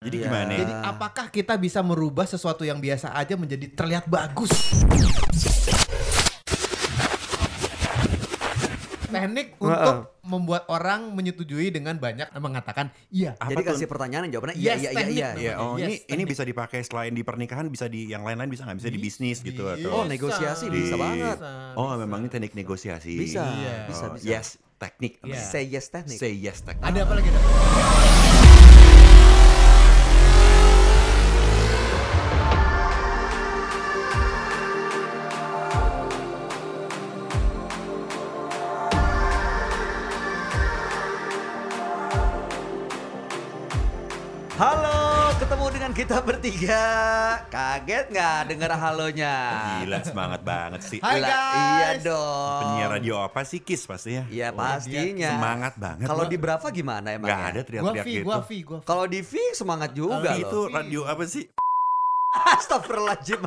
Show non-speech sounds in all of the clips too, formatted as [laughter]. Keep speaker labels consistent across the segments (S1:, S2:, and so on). S1: Jadi
S2: Iya.
S1: gimana?
S3: Jadi apakah kita bisa merubah sesuatu yang biasa aja menjadi terlihat bagus? Teknik untuk membuat orang menyetujui dengan banyak mengatakan iya.
S1: Apa
S2: Jadi
S1: tuh?
S2: kasih pertanyaan dan jawabannya iya
S3: Yes,
S2: iya iya
S3: teknik
S2: iya.
S1: Ya, oh
S3: Yes,
S1: ini ini
S3: teknik.
S1: bisa dipakai selain di pernikahan bisa di yang lain-lain bisa nggak bisa di bisnis gitu
S2: Oh,
S1: atau
S2: negosiasi
S1: bisa
S2: banget.
S1: oh memang ini teknik negosiasi
S2: Bisa,
S3: Iya.
S2: bisa,
S1: Oh,
S2: bisa.
S1: yes teknik
S3: Iya.
S2: Say yes teknik.
S1: say yes teknik
S3: Ada apa lagi? Dok?
S2: Halo, ketemu dengan kita bertiga. Kaget nggak denger halonya?
S1: Oh, gila semangat banget sih
S3: Hai,
S2: Lah,
S3: guys.
S2: Iya dong.
S1: penyiar radio apa sih ya? Kiss pastinya
S2: Iya pastinya.
S1: Oh, semangat banget
S2: Kalau di Brava gimana emang? ya?
S1: nggak ada
S3: Gua
S1: teriak-teriak
S3: fi,
S1: gitu
S3: gua fi, gua fi.
S2: Kalau di V semangat juga
S1: Fi
S2: loh.
S1: itu radio apa sih
S2: [laughs] Astagfirullahaladzim.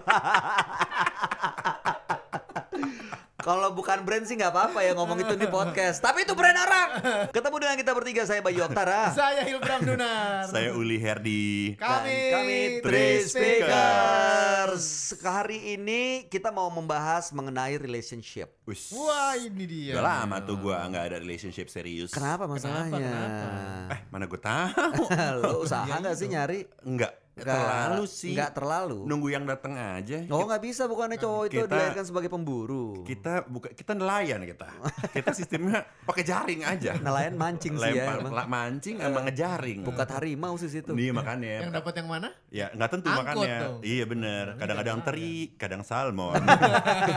S2: Kalau bukan brand sih nggak apa-apa ya ngomong itu di podcast. Tapi itu brand orang. Ketemu dengan kita bertiga saya Bayu Oktara.
S3: Saya Hilbram Dunar.
S1: saya Uli Herdi
S3: Kami,
S2: Dan kami
S1: Three
S2: Three
S1: Speakers.
S2: Speakers. Hari ini kita mau membahas mengenai relationship.
S1: Ush.
S3: Wah iya. ini dia.
S1: udah lama tuh gua nggak ada relationship serius
S2: Kenapa masalahnya? [laughs]
S1: eh mana gue tahu [laughs]
S2: Lo usaha nggak sih nyari?
S1: Iya gitu. nggak
S2: Nggak-
S1: terlalu sih
S2: Nggak terlalu.
S1: nunggu yang datang aja
S2: gitu. Oh nggak bisa bukannya cowok itu
S1: Kita-
S2: dilahirkan sebagai pemburu.
S1: kita buka kita nelayan
S2: [laughs]
S1: kita kita sistemnya pakai jaring aja
S2: Nelayan mancing sih ya.
S1: lempar
S2: emang. Eh,
S1: la- mancing sama ngejaring
S2: Bukan harimau sih situ.
S1: Iya makanya
S3: Yang dapat yang mana?
S1: ya nggak tentu
S3: Angkut
S1: makanya
S3: dong.
S1: iya bener kadang-kadang teri kadang salmon
S2: [laughs]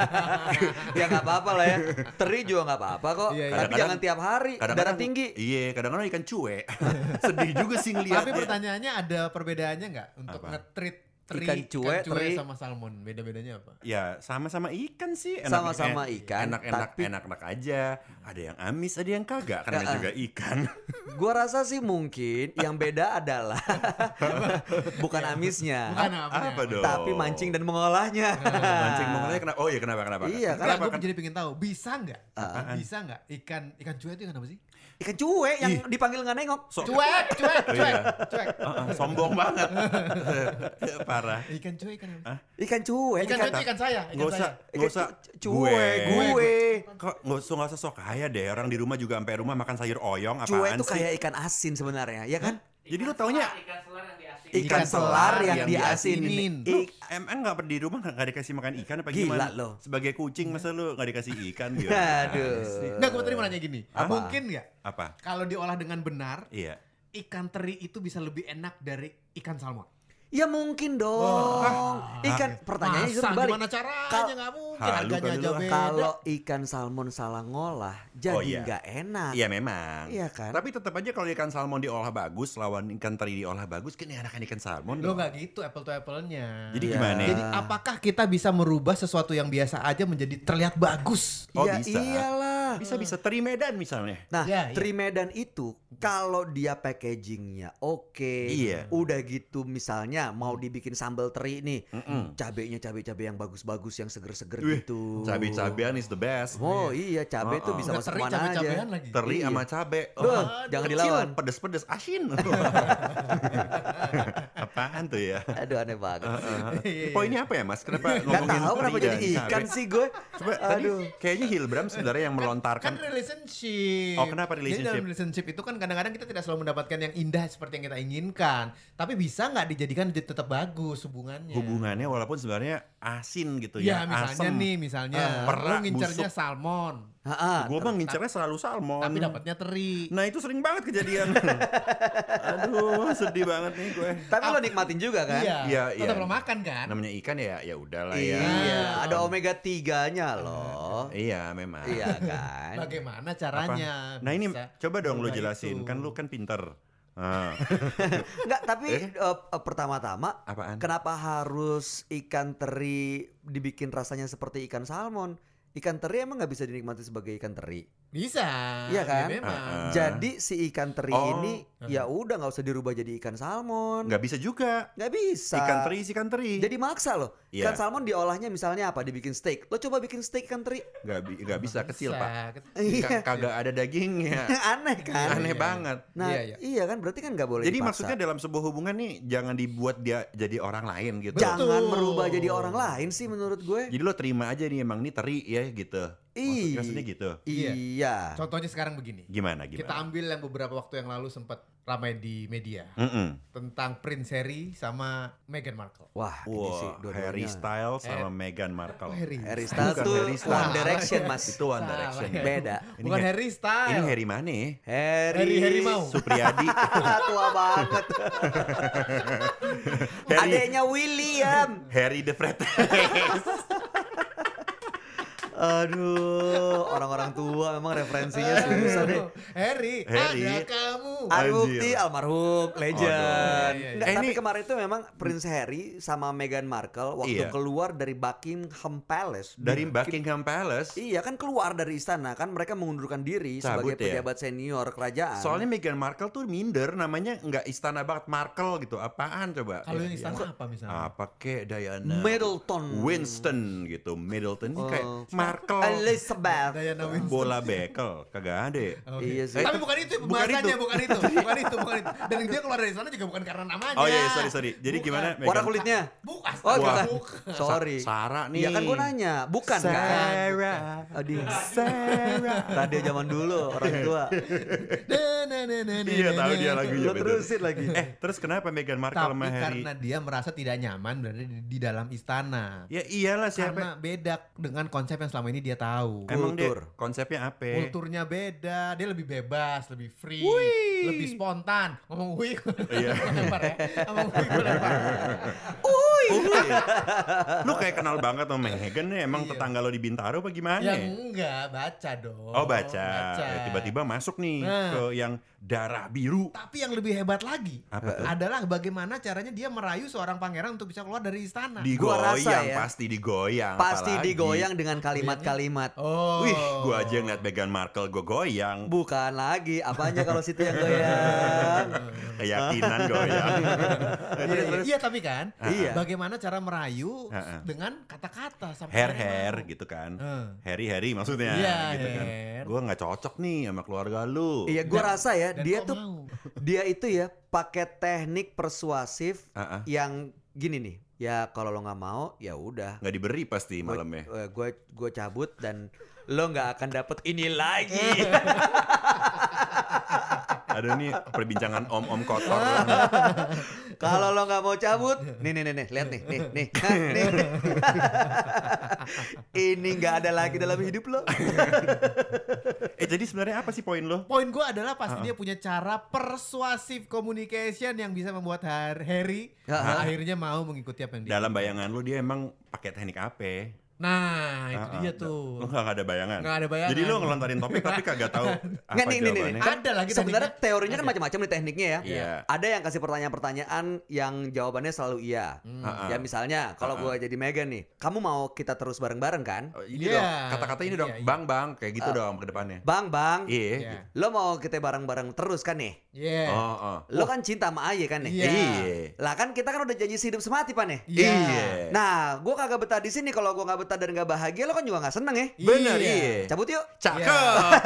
S2: ya nggak apa-apa lah ya. Teri juga nggak apa-apa kok.
S3: Iya, iya.
S2: Tapi
S1: Kadang-kadang-
S2: jangan tiap hari. Darah
S1: kadang-kadang
S2: tinggi.
S1: iya kadang-kadang ikan cuek [laughs] sedih juga sih ngeliatnya
S3: Tapi pertanyaannya ada perbedaannya nggak untuk
S1: Apa?
S3: ngetrit teri,
S2: Ikan cuek, teri.
S3: sama salmon? Beda-bedanya apa?
S1: ya sama-sama ikan sih
S2: Sama-sama ikan,
S1: eh, enak-enak
S2: tapi-
S1: enak-enak aja ada yang amis ada yang kagak karena
S2: Ah, ah.
S1: juga ikan [laughs]
S2: Gua rasa sih mungkin yang beda adalah [laughs] bukan
S1: Iya.
S2: amisnya,
S3: Bukan
S1: Ah, apa,
S3: apa? ya?
S1: dong
S2: tapi mancing dan mengolahnya.
S1: Oh. [laughs] mancing mongolnya kenapa oh iya kenapa kenapa
S2: Iya,
S3: Enggak,
S1: kenapa
S3: gue
S1: kan
S3: jadi pengen tahu bisa nggak?
S1: Apaan?
S3: Bisa nggak ikan ikan cuek itu ikan apa sih?
S2: Ikan cuek yang
S1: Ih.
S2: dipanggil nggak nengok.
S1: so-
S3: Cuek, cuek,
S1: Oh,
S3: cuek,
S1: iya.
S3: cuek.
S1: Ah, ah, sombong banget [laughs] Ya, parah
S3: Ikan cuek ikan apa?
S2: Ikan cuek.
S3: Ikan cuek itu ikan saya, ikan
S1: nggak usah
S3: saya.
S1: nggak usah
S2: Ikan cu- cuek, gue.
S1: kok nggak usah nggak usah sok kaya deh orang di rumah juga sampai rumah makan sayur oyong apaan
S2: Cuek itu
S1: sih
S2: kayak ikan asin sebenarnya, ya kan?
S1: jadi lu taunya
S4: ikan selar yang diasin.
S2: Ikan,
S3: Ikan
S2: selar
S3: selar
S2: yang,
S1: yang
S3: diasinin.
S2: diasinin.
S1: lu
S2: Ik-
S1: emang nggak per- di rumah nggak nggak dikasih makan ikan apa
S2: Gila
S1: gimana
S2: lo.
S1: sebagai kucing masa lu nggak dikasih ikan gitu
S2: [laughs] Aduh.
S3: Nggak, gue tadi mau nanya gini.
S2: Apa?
S3: Mungkin nggak
S1: apa
S3: kalau diolah dengan benar,
S1: iya
S3: ikan teri itu bisa lebih enak dari ikan salmon? Iya.
S2: Ya mungkin dong. Ikan pertanyaannya justru
S3: Masa
S2: balik.
S3: gimana caranya
S2: Kal-
S3: nggak mungkin
S1: Ah. Halu
S3: harganya
S1: kali
S3: aja
S1: lu.
S3: beda.
S2: Kalau ikan salmon salah ngolah, jadi
S1: Oh, iya.
S2: nggak enak.
S1: Iya memang.
S2: Iya kan?
S1: Tapi tetap aja kalau ikan salmon diolah bagus lawan ikan teri diolah bagus kan enakan ikan salmon.
S3: Lo
S1: dong.
S3: nggak gitu apple to apple-nya.
S1: Jadi
S2: Iya.
S1: gimana?
S3: Jadi apakah kita bisa merubah sesuatu yang biasa aja menjadi terlihat bagus?
S1: Oh,
S2: ya
S1: bisa.
S2: iyalah.
S1: bisa bisa teri Medan misalnya.
S2: Nah,
S3: Ya, iya.
S2: Trimedan itu kalau dia packagingnya oke,
S1: Iya.
S2: udah gitu misalnya
S3: Hmm.
S2: mau dibikin sambal teri nih,
S1: Mm-mm.
S2: cabenya cabe-cabe yang bagus-bagus yang seger-seger
S1: Wih,
S2: gitu.
S1: Cabe-cabean is the best.
S2: Oh iya, cabe
S1: Oh,
S2: tuh
S1: oh.
S2: bisa
S3: Nggak
S2: masuk
S3: teri,
S2: mana aja.
S3: cabe-cabean lagi.
S1: Teri
S2: Iya.
S1: sama cabe.
S2: Duh, jangan
S1: kecil,
S2: dilawan.
S1: Pedes-pedes
S2: [laughs]
S1: asin. Apaan tuh ya?
S2: Aduh aneh banget.
S3: Iya,
S1: Heeh. Poinnya apa ya Mas? Kenapa
S2: Gak
S1: ngomongin
S2: iya, tahu
S1: teri
S2: kenapa jadi
S1: dan cabe?
S2: ikan sih gue.
S1: Coba tadi
S2: Aduh.
S1: kayaknya Hilbram sebenarnya yang melontarkan.
S3: Kan relationship.
S1: Oh, kenapa
S3: Jadi dalam
S1: relationship?
S3: relationship itu kan kadang-kadang kita tidak selalu mendapatkan yang indah seperti yang kita inginkan. Tapi bisa nggak dijadikan jadi tetap bagus hubungannya?
S1: Hubungannya walaupun sebenarnya asin gitu
S3: Ya,
S1: ya.
S2: Iya,
S3: misalnya
S1: asem.
S3: nih, misalnya
S1: Eh,
S3: lo
S1: perak,
S3: ngincernya
S1: busuk.
S3: salmon,
S2: Ha-ha.
S1: Gue mah ngincernya selalu salmon.
S3: tapi dapatnya teri.
S1: Nah itu sering banget
S2: [laughs]
S1: kejadian. Aduh sedih banget nih gue.
S2: Tapi lo nikmatin juga kan?
S3: Iya,
S1: Iya,
S3: tetap
S1: iya.
S3: lo makan kan?
S1: Namanya ikan ya ya udahlah ya.
S2: Iya, ada omega 3-nya loh.
S1: Iya memang.
S2: Iya kan?
S3: Bagaimana
S1: Apa?
S3: caranya?
S1: Nah ini
S3: bisa
S1: coba dong lu
S3: merubah
S1: jelasin.
S3: itu?
S1: Kan lu kan pinter. Ah,
S2: Enggak, tapi
S1: Eh?
S2: eh, eh, pertama-tama
S1: apaan?
S2: Kenapa harus ikan teri dibikin rasanya seperti ikan salmon? Ikan teri emang nggak bisa dinikmati sebagai ikan teri.
S3: Bisa.
S2: Iya kan?
S3: Ya memang.
S1: Ah,
S2: Jadi si ikan teri
S1: Oh.
S2: ini ya udah nggak usah dirubah jadi ikan salmon.
S1: Nggak bisa juga.
S2: Nggak bisa.
S1: Ikan teri, sih ikan teri.
S2: Jadi kan- maksa loh.
S1: Iya.
S2: Ikan salmon diolahnya misalnya apa? Dibikin steak. Lo coba bikin steak ikan teri.
S1: nggak bi- nggak bisa kecil
S3: Bisa.
S1: pak.
S3: Kecil.
S1: Ka-
S2: Iya.
S1: Kagak ada dagingnya.
S2: [laughs] Aneh kan?
S1: Aneh
S3: Iya.
S1: banget.
S2: Nah,
S3: Iya,
S2: iya,
S3: iya.
S2: kan berarti kan nggak boleh
S1: Jadi
S2: dipaksa.
S1: maksudnya dalam sebuah hubungan nih jangan dibuat dia jadi orang lain gitu.
S3: Betul.
S2: jangan merubah jadi orang lain sih menurut gue.
S1: Jadi lo terima aja nih emang ini teri ya gitu. Maksud-
S2: Ih.
S1: Maksudnya gitu.
S3: Iya.
S2: Iya.
S3: [laughs] Contohnya sekarang begini.
S1: Gimana gimana?
S3: Kita ambil yang beberapa waktu yang lalu sempat ramai di media
S1: Mm-mm.
S3: tentang Prince Harry sama Meghan Markle.
S2: Wah, ini sih
S1: Wah,
S2: dua-duanya.
S1: Harry Styles sama
S3: Eh,
S1: Meghan Markle.
S3: Harry.
S2: Harry Styles
S3: Styles.
S1: Bukan
S2: tuh
S1: Oh, Harry Styles.
S2: One Direction mas.
S1: Itu One
S3: Salah.
S1: Direction. ya.
S2: Beda.
S1: Ini
S3: Bukan
S1: Har-
S3: Harry Style.
S1: Ini Harry mana?
S2: Harry. Ah,
S3: Harry Harry mau.
S2: Oh. [laughs]
S1: Supriyadi.
S2: Tua banget.
S1: Harry,
S2: Adeknya William.
S1: Harry the Fred. [laughs]
S2: Aduh, orang-orang tua memang referensinya susah deh.
S3: Harry,
S1: ya, Harry. Ah,
S3: ada kamu.
S1: Anjir.
S2: Bukti almarhum legend.
S3: Aduh.
S2: Nggak,
S1: Eh,
S2: tapi
S1: ini-
S2: kemarin itu memang Prince Harry sama Meghan Markle waktu
S1: Iya.
S2: keluar dari Buckingham Palace
S1: Dari Buckingham Palace.
S2: Iya kan keluar dari istana kan mereka mengundurkan diri
S1: Cabut
S2: sebagai
S1: ya?
S2: pejabat senior kerajaan.
S1: Soalnya Meghan Markle tuh minder, namanya nggak istana banget Markle gitu. Apaan coba?
S3: Kalau
S1: Ya,
S3: yang istana
S1: ya.
S3: apa misalnya?
S1: apa kek Diana?
S2: Middleton
S1: Winston gitu, Middleton ini kayak
S2: Oh.
S1: Markle.
S2: Elizabeth.
S3: Diana Winston.
S1: Bola bekel, kagak ada.
S3: Oh, Oke.
S2: Iya sih.
S3: Tapi bukan itu
S1: Bukan
S3: pembahasannya,
S1: itu.
S3: bukan
S1: [laughs]
S3: itu, bukan itu, bukan itu. Dan dia keluar dari sana juga bukan karena namanya.
S1: Oh iya, sorry sorry. Jadi
S3: Bukan.
S1: gimana?
S2: eh, Warna
S1: Meghan?
S2: kulitnya.
S3: Bukan.
S2: Oh,
S3: astaga,
S1: bukan.
S3: bukan.
S1: Sa-
S2: [laughs] Sorry.
S1: Sarah nih.
S2: Iya kan gue nanya, bukan kan?
S1: Sarah.
S2: Aduh,
S1: Sarah.
S2: radio zaman dulu orang tua.
S3: Na- na- na- na- na-
S1: [laughs] [laughs] Iya tahu dia
S3: na-
S1: lagunya.
S2: Lo
S1: bener.
S2: terusin lagi.
S1: Eh terus kenapa Meghan Markle
S3: Tapi
S1: sama Harry?
S3: karena dia merasa tidak nyaman berada di, di dalam istana.
S1: Ya iyalah siapa?
S3: Karena beda dengan konsep yang selama ini dia tahu.
S1: Emang dia
S2: Kultur.
S1: konsepnya apa?
S3: Kulturnya beda, dia lebih bebas, lebih free, lebih spontan. Ngomong wih,
S1: Iya.
S3: [laughs] lempar ya. Ngomong wih, gue lempar.
S2: Oh, iya.
S1: Uy. Lu kayak kenal banget sama Megan nih, emang
S3: Iya.
S1: tetangga lo di Bintaro apa gimana?
S3: Ya enggak, baca dong.
S1: oh baca, Ya, tiba-tiba masuk nih
S3: Nah.
S1: ke yang darah biru.
S3: Tapi yang lebih hebat lagi
S1: Ah, Apa tuh?
S3: adalah bagaimana caranya dia merayu seorang pangeran untuk bisa keluar dari istana.
S1: Digoyang,
S2: Nah, Gua rasa ya.
S1: pasti digoyang.
S2: [laughs] Pasti
S1: apalagi.
S2: digoyang dengan kalimat-kalimat.
S3: Oh.
S1: Wih, gua aja ngeliat Meghan Markle gua goyang.
S2: Bukan lagi, apanya kalau situ yang
S1: [laughs]
S2: goyang?
S1: Keyakinan
S2: [laughs]
S1: goyang.
S3: Iya, iya, iya, tapi kan,
S2: Iya.
S3: bagaimana cara merayu
S1: Ah, ah.
S3: dengan kata-kata sampai
S1: hair
S3: akhirnya
S1: hair
S3: mau.
S1: gitu kan.
S3: Eh.
S1: Harry Harry maksudnya
S3: Iya,
S1: gitu kan.
S3: hair.
S1: Gua nggak cocok nih sama keluarga lu.
S2: Iya, gue
S3: Dan-
S2: rasa ya
S3: dan
S2: dia
S3: kok
S2: tuh
S3: mau?
S2: dia itu ya pakai teknik persuasif
S1: Ah, ah.
S2: yang gini nih. Ya kalau lo nggak mau, ya udah.
S1: Nggak diberi pasti malamnya.
S2: Gue gue cabut dan lo nggak akan dapet ini
S1: [laughs]
S2: lagi.
S1: Ada
S2: [laughs]
S1: nih perbincangan om-om kotor.
S2: Kalau lo nggak mau cabut, nih nih nih nih, lihat nih, nih nih. nih.
S3: [laughs]
S2: Ini nggak ada lagi dalam hidup lo.
S1: eh jadi sebenarnya apa sih poin lo?
S3: Poin gue adalah pasti dia punya cara persuasif communication yang bisa membuat Har- Harry
S2: Ah, ah.
S3: akhirnya mau mengikuti apa yang dia.
S1: Dalam bayangan lo dia emang pakai teknik apa?
S3: Nah, itu
S1: Ah, ah.
S3: dia tuh.
S1: Lo nggak ada bayangan.
S3: Nggak ada bayangan.
S1: Jadi lo ngelontarin topik tapi kagak tahu apa
S2: Nggak, nih, nih, nih,
S1: jawabannya.
S2: nih.
S3: Kan ada lagi
S2: Sebenarnya
S3: tekniknya.
S2: teorinya kan macam-macam nih tekniknya ya.
S1: Iya.
S2: Ada yang kasih pertanyaan-pertanyaan yang jawabannya selalu iya.
S3: Hmm.
S1: Ah, ah.
S2: Ya misalnya kalau
S1: Ah,
S2: gua jadi Megan nih, kamu mau kita terus bareng-bareng kan?
S1: Oh, Ini
S3: Iya.
S1: dong, kata-kata ini dong,
S3: Iya, iya.
S1: bang bang, kayak gitu
S2: Ah.
S1: dong ke depannya.
S2: Bang, bang,
S1: Iya.
S3: Iya.
S1: gitu.
S2: lo mau kita bareng-bareng terus kan nih?
S3: Yeah.
S1: Oh, oh.
S2: Lo kan cinta sama Aye kan nih?
S3: Iya.
S1: Iya.
S2: Lah kan kita kan udah janji sehidup semati pak nih.
S3: Iya.
S2: Nah, gua kagak betah di sini kalau gua nggak betah dan nggak bahagia lo kan juga nggak seneng ya.
S1: Bener,
S3: Iya. Oh,
S1: iya.
S2: Cabut yuk.
S1: Cakep.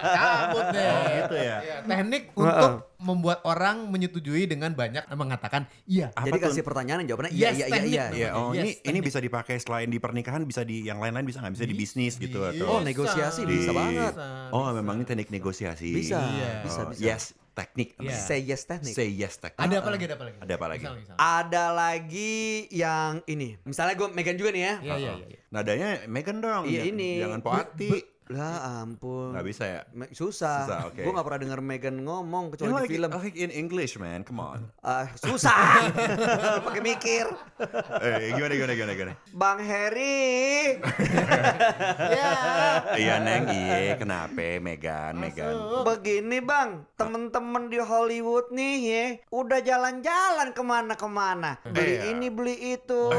S3: Cabut deh.
S1: Oh, gitu ya.
S3: Iya, Teknik untuk membuat orang menyetujui dengan banyak mengatakan iya.
S1: Apa
S2: Jadi
S1: tuh?
S2: kasih pertanyaan jawabannya iya iya
S3: Yes,
S2: iya
S3: teknik
S2: iya.
S3: namanya.
S1: Iya, oh
S3: Yes,
S1: ini ini
S3: teknik.
S1: bisa dipakai selain di pernikahan, bisa di yang lain-lain bisa nggak? Bisa di bisnis gitu atau
S2: Oh, negosiasi bisa banget.
S1: Oh, memang ini teknik negosiasi.
S2: Bisa,
S3: Iya.
S2: bisa,
S1: Oh,
S2: bisa.
S1: Yes, teknik.
S3: Iya.
S2: Say yes teknik.
S1: Say yes teknik.
S3: Ada apa lagi? Ada apa lagi?
S1: Ah, Ada apa lagi? Ah,
S3: Misalnya, misalnya.
S2: Ada lagi yang ini. Misalnya gue Megan juga nih ya.
S1: ah.
S3: Iya, iya, iya.
S1: Uh-uh. Nadanya Megan dong.
S2: Iya,
S1: jangan-
S2: ini.
S1: Jangan poati.
S2: Lah ampun.
S1: Nggak bisa ya.
S2: Me- Susah.
S1: Susah, oke. Oh.
S2: Gue nggak pernah denger Megan ngomong kecuali
S1: You like,
S2: di film.
S1: like in English man, come on. [laughs]
S2: Ah, susah. [laughs] Pakai mikir.
S1: eh, gimana gimana gimana gimana.
S2: Bang Harry.
S3: Ya.
S1: Iya neng, iya kenapa Megan Megan?
S2: Begini bang, temen-temen di Hollywood nih ya, udah jalan-jalan kemana-kemana, beli
S1: Iya.
S2: ini beli itu,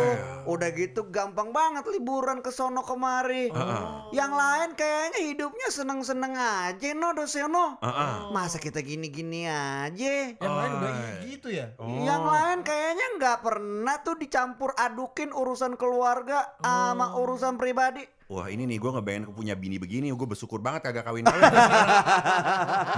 S2: udah gitu gampang banget liburan ke sono kemari.
S1: Heeh.
S2: Yang lain kayak kayaknya hidupnya seneng-seneng aja no Dosiono.
S1: Heeh.
S2: Masa kita gini-gini aja?
S3: Yang lain udah
S1: Oh.
S3: gitu ya.
S1: Oh.
S2: Yang lain kayaknya nggak pernah tuh dicampur adukin urusan keluarga sama
S1: Oh.
S2: urusan pribadi.
S1: Wah ini nih gue ngebayangin punya bini begini Gue bersyukur banget kagak kawin kawin [laughs]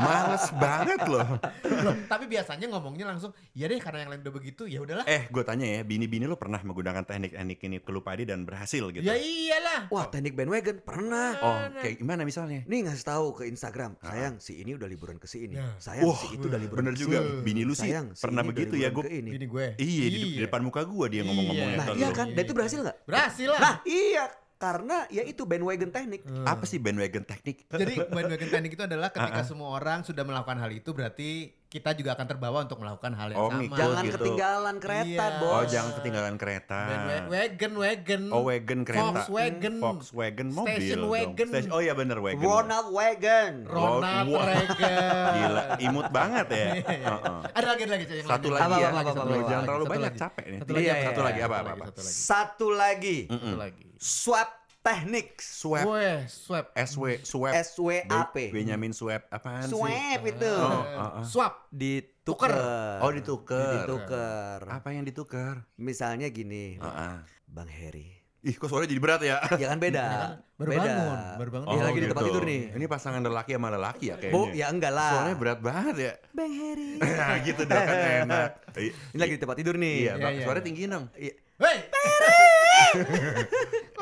S1: Males banget loh
S3: Loh, tapi biasanya ngomongnya langsung, ya deh karena yang lain udah begitu, ya udahlah.
S1: Eh gue tanya ya Bini-bini lo pernah menggunakan teknik-teknik ini kelupadi dan berhasil gitu
S3: Ya iyalah.
S2: Wah teknik bandwagon pernah.
S1: Oh kayak gimana misalnya
S2: Nih ngasih tahu ke Instagram, sayang si ini udah liburan ke sini,
S3: Nah.
S2: sayang
S1: Wah,
S2: si itu udah liburan
S1: Bener
S2: ke
S1: juga
S2: sini.
S1: Bini lu sih
S2: Sayang, si
S1: pernah
S2: ini udah
S1: begitu ya gue
S2: liburan ke ini.
S3: Gini gue.
S1: Iya di, di depan muka gue dia ngomong-ngomongnya
S3: Iya.
S2: Nah
S1: ntar
S2: iya
S1: lu.
S2: kan, dan itu berhasil nggak?
S3: Berhasil lah. Hmm.
S2: Nah iya, karena ya itu bandwagon teknik.
S1: Apa Ah, sih bandwagon teknik?
S3: Jadi bandwagon teknik itu adalah ketika semua orang sudah melakukan hal itu berarti kita juga akan terbawa untuk melakukan hal yang
S1: Oh,
S3: sama.
S1: ngikut
S2: Jangan
S1: gitu.
S2: ketinggalan kereta,
S3: Iya.
S2: bos.
S1: Oh jangan ketinggalan kereta
S3: Bandwagon, wagon.
S1: Ah. Oh wagon kereta Hmm,
S3: Volkswagen.
S1: Volkswagen mobil
S3: Station
S1: dong.
S3: wagon.
S1: Station- Oh iya bener wagon
S2: Ronald Wagon.
S3: Ronald
S1: Wah.
S3: Reagan.
S1: Gila imut banget
S3: [laughs]
S1: ya Heeh.
S3: Ada lagi ada lagi Cak, yang
S1: Satu
S3: lain.
S1: lagi
S2: Apa,
S1: ya
S2: apa, apa, apa, apa,
S1: Jangan
S2: apa.
S1: terlalu
S3: Iya, Satu
S1: banyak
S3: lagi.
S1: capek nih
S3: Satu lagi
S2: Iya,
S3: apa?
S2: iya,
S1: Satu lagi
S3: iya.
S1: apa
S3: Satu
S1: apa
S3: lagi,
S1: apa
S3: satu lagi.
S2: Satu lagi,
S1: Hmm.
S3: Satu lagi.
S2: swap teknik.
S1: Swab
S3: Weh, swab.
S1: SW Swab
S2: SWAP.
S1: Be- Benjamin Swab apaan sih?
S2: Swap itu.
S1: Oh,
S3: Eh,
S1: ah, ah.
S3: Swab.
S2: Dituker.
S1: Oh dituker
S2: Dituker.
S1: Apa yang dituker?
S2: Misalnya gini,
S1: Ah, ah.
S2: Bang Heri.
S1: Ih kok suaranya jadi berat ya
S2: Ya kan beda.
S3: Ya kan, baru
S2: beda.
S3: bangun, baru bangun.
S2: Dia
S3: Oh,
S2: lagi di tempat
S1: gitu.
S2: tidur nih.
S1: Ini pasangan lelaki sama lelaki ya kayaknya
S2: Bu, ya enggak lah.
S1: Suaranya berat banget
S2: [laughs]
S1: ya
S2: Bang Heri.
S1: Nah gitu dong kan enak I-
S2: [coughs] Ini lagi di tempat tidur nih.
S1: Iya,
S3: Iya,
S1: bak,
S3: iya,
S1: suaranya
S3: iya.
S1: tinggi dong
S2: Iya.
S3: Hei.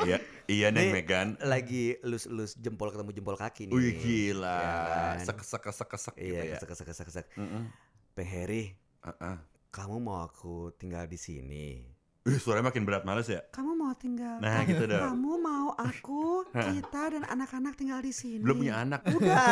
S1: Iya, iya Neng
S2: Nih,
S1: Megan
S2: Lagi elus-elus jempol ketemu jempol kaki nih.
S1: Wih gila
S2: Iya kan?
S1: Sek sek sek sek gitu
S2: Iya,
S1: ya
S2: kesek kesek kesek kesek.
S1: Mm-mm.
S2: Bang Heri,
S1: Ah, ah.
S2: kamu mau aku tinggal di sini?
S1: Ih, suaranya makin berat males ya
S4: Kamu mau tinggal?
S1: Nah gitu dong
S4: Kamu mau aku, kita dan anak-anak tinggal di sini?
S1: Belum punya anak
S2: Udah.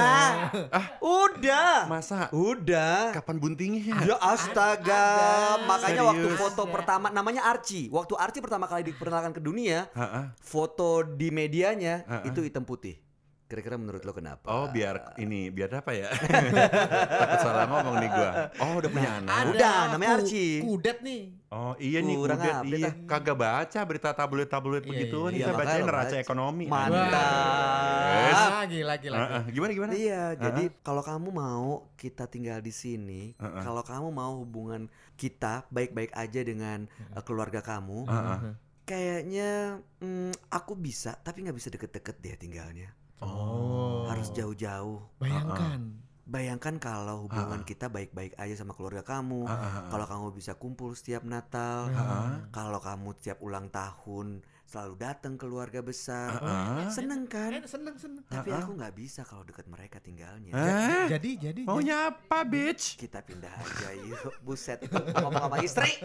S2: Ah. Udah.
S1: Masa
S2: Udah.
S1: kapan buntingnya
S2: Ya astaga,
S3: Ada.
S2: makanya waktu
S1: Serius?
S2: foto
S3: Ada.
S2: pertama namanya Archie. Waktu Archie pertama kali diperkenalkan ke dunia,
S1: Ah, ah.
S2: foto di medianya
S1: Ha-ha.
S2: itu hitam putih. Kira-kira menurut lo kenapa?
S1: Oh biar ini biar apa
S2: [laughs]
S1: ya? Takut salah ngomong nih gua. Oh udah punya
S2: Nah,
S1: anak.
S3: Ada
S2: Udah, namanya
S3: ku-
S2: Archie.
S3: Kudet nih.
S1: Oh iya nih
S2: Kurang
S1: kudet
S2: update
S1: iya
S2: ah.
S1: kagak baca berita tabloid-tabloid
S3: Iya,
S1: begitu
S3: iya,
S1: nih saya
S2: iya. Iya,
S1: baca
S2: makanya
S1: neraca
S2: baca.
S1: ekonomi.
S2: Mantap.
S1: Yes.
S3: Wah, gila gila.
S1: Ah, ah. Gimana gimana?
S2: Iya, jadi kalau kamu mau kita tinggal di sini,
S1: Ha-ha.
S2: kalau kamu mau hubungan kita baik-baik aja dengan eh, keluarga kamu,
S1: Ah, ah.
S2: kayaknya mm, aku bisa, tapi nggak bisa deket-deket deh tinggalnya.
S3: Oh.
S2: Harus jauh-jauh.
S3: Bayangkan.
S2: Bayangkan kalau hubungan kita baik-baik aja sama keluarga kamu,
S1: Ah, ah, ah.
S2: kalau kamu bisa kumpul setiap Natal,
S1: Ah.
S2: kalau kamu tiap ulang tahun selalu datang keluarga
S1: Ah,
S2: besar,
S1: ah.
S2: seneng kan?
S3: Eh, seneng seneng.
S2: Tapi
S1: ah.
S2: aku nggak bisa kalau deket mereka tinggalnya.
S1: Hah?
S3: Jadi jadi. jadi.
S1: Maunya apa bitch?
S2: Kita pindah aja yuk, buset itu ngomong sama istri.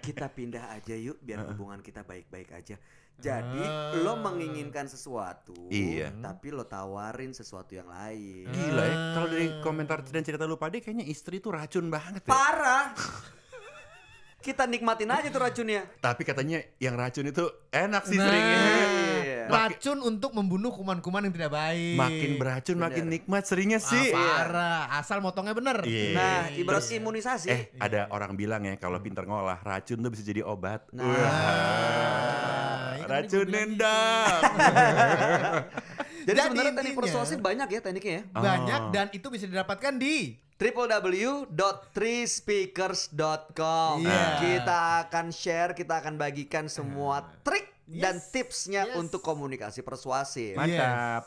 S2: Kita pindah aja yuk biar hubungan kita baik-baik aja. Jadi lo
S3: Ah.
S2: menginginkan sesuatu,
S1: Iya.
S2: tapi lo tawarin sesuatu yang lain.
S1: Gila ya. Kalau dari
S3: Ah.
S1: komentar dan cerita lu pade kayaknya istri itu racun banget ya.
S2: Parah. Kita nikmatin aja tuh racunnya.
S1: Tapi katanya yang racun itu enak sih
S3: Nah.
S1: seringnya.
S2: Iya.
S3: Racun untuk membunuh kuman-kuman yang tidak baik.
S1: Makin beracun makin nikmat seringnya sih.
S3: Ah, parah. Asal motongnya bener.
S1: Iya.
S2: Nah, ibarat imunisasi.
S1: Eh,
S3: Iya.
S1: ada orang bilang ya kalau pinter ngolah racun tuh bisa jadi obat.
S2: Nah.
S1: Wah,
S3: Iya, kan
S1: racun
S3: tadi gua bilang [laughs] Iya.
S1: nendang.
S2: Jadi,
S3: Jadi
S2: sebenarnya teknik
S3: intinya-
S2: persuasif banyak ya tekniknya ya.
S3: Banyak
S1: Oh.
S3: dan itu bisa didapatkan di
S2: www.treespeakers.com
S3: Iya.
S2: Kita akan share, kita akan bagikan semua
S1: Iya.
S2: trik dan
S3: Yes,
S2: tipsnya
S3: yes.
S2: untuk komunikasi persuasif.
S3: Mantap.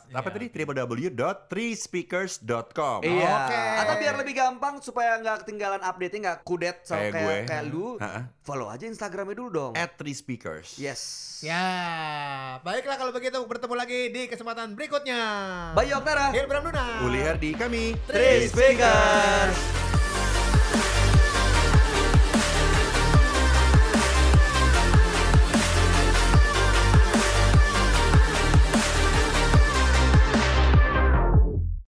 S1: Mantap.
S3: Yes.
S1: Apa
S3: Iya.
S1: tadi? www.treespeakers.com.
S2: Iya.
S3: Oke.
S2: Atau biar lebih gampang supaya nggak ketinggalan update-nya nggak kudet sama
S1: Kayak
S2: kayak
S1: gue.
S2: kayak lu.
S1: Ha-ha.
S2: Follow aja Instagramnya dulu dong.
S1: At Three Speakers.
S3: Iya.
S2: Yes.
S3: Ya, baiklah kalau begitu bertemu lagi di kesempatan berikutnya.
S2: Bayu Oktara.
S3: Hilbram Luna.
S1: Uliar di kami.
S2: Three Speakers.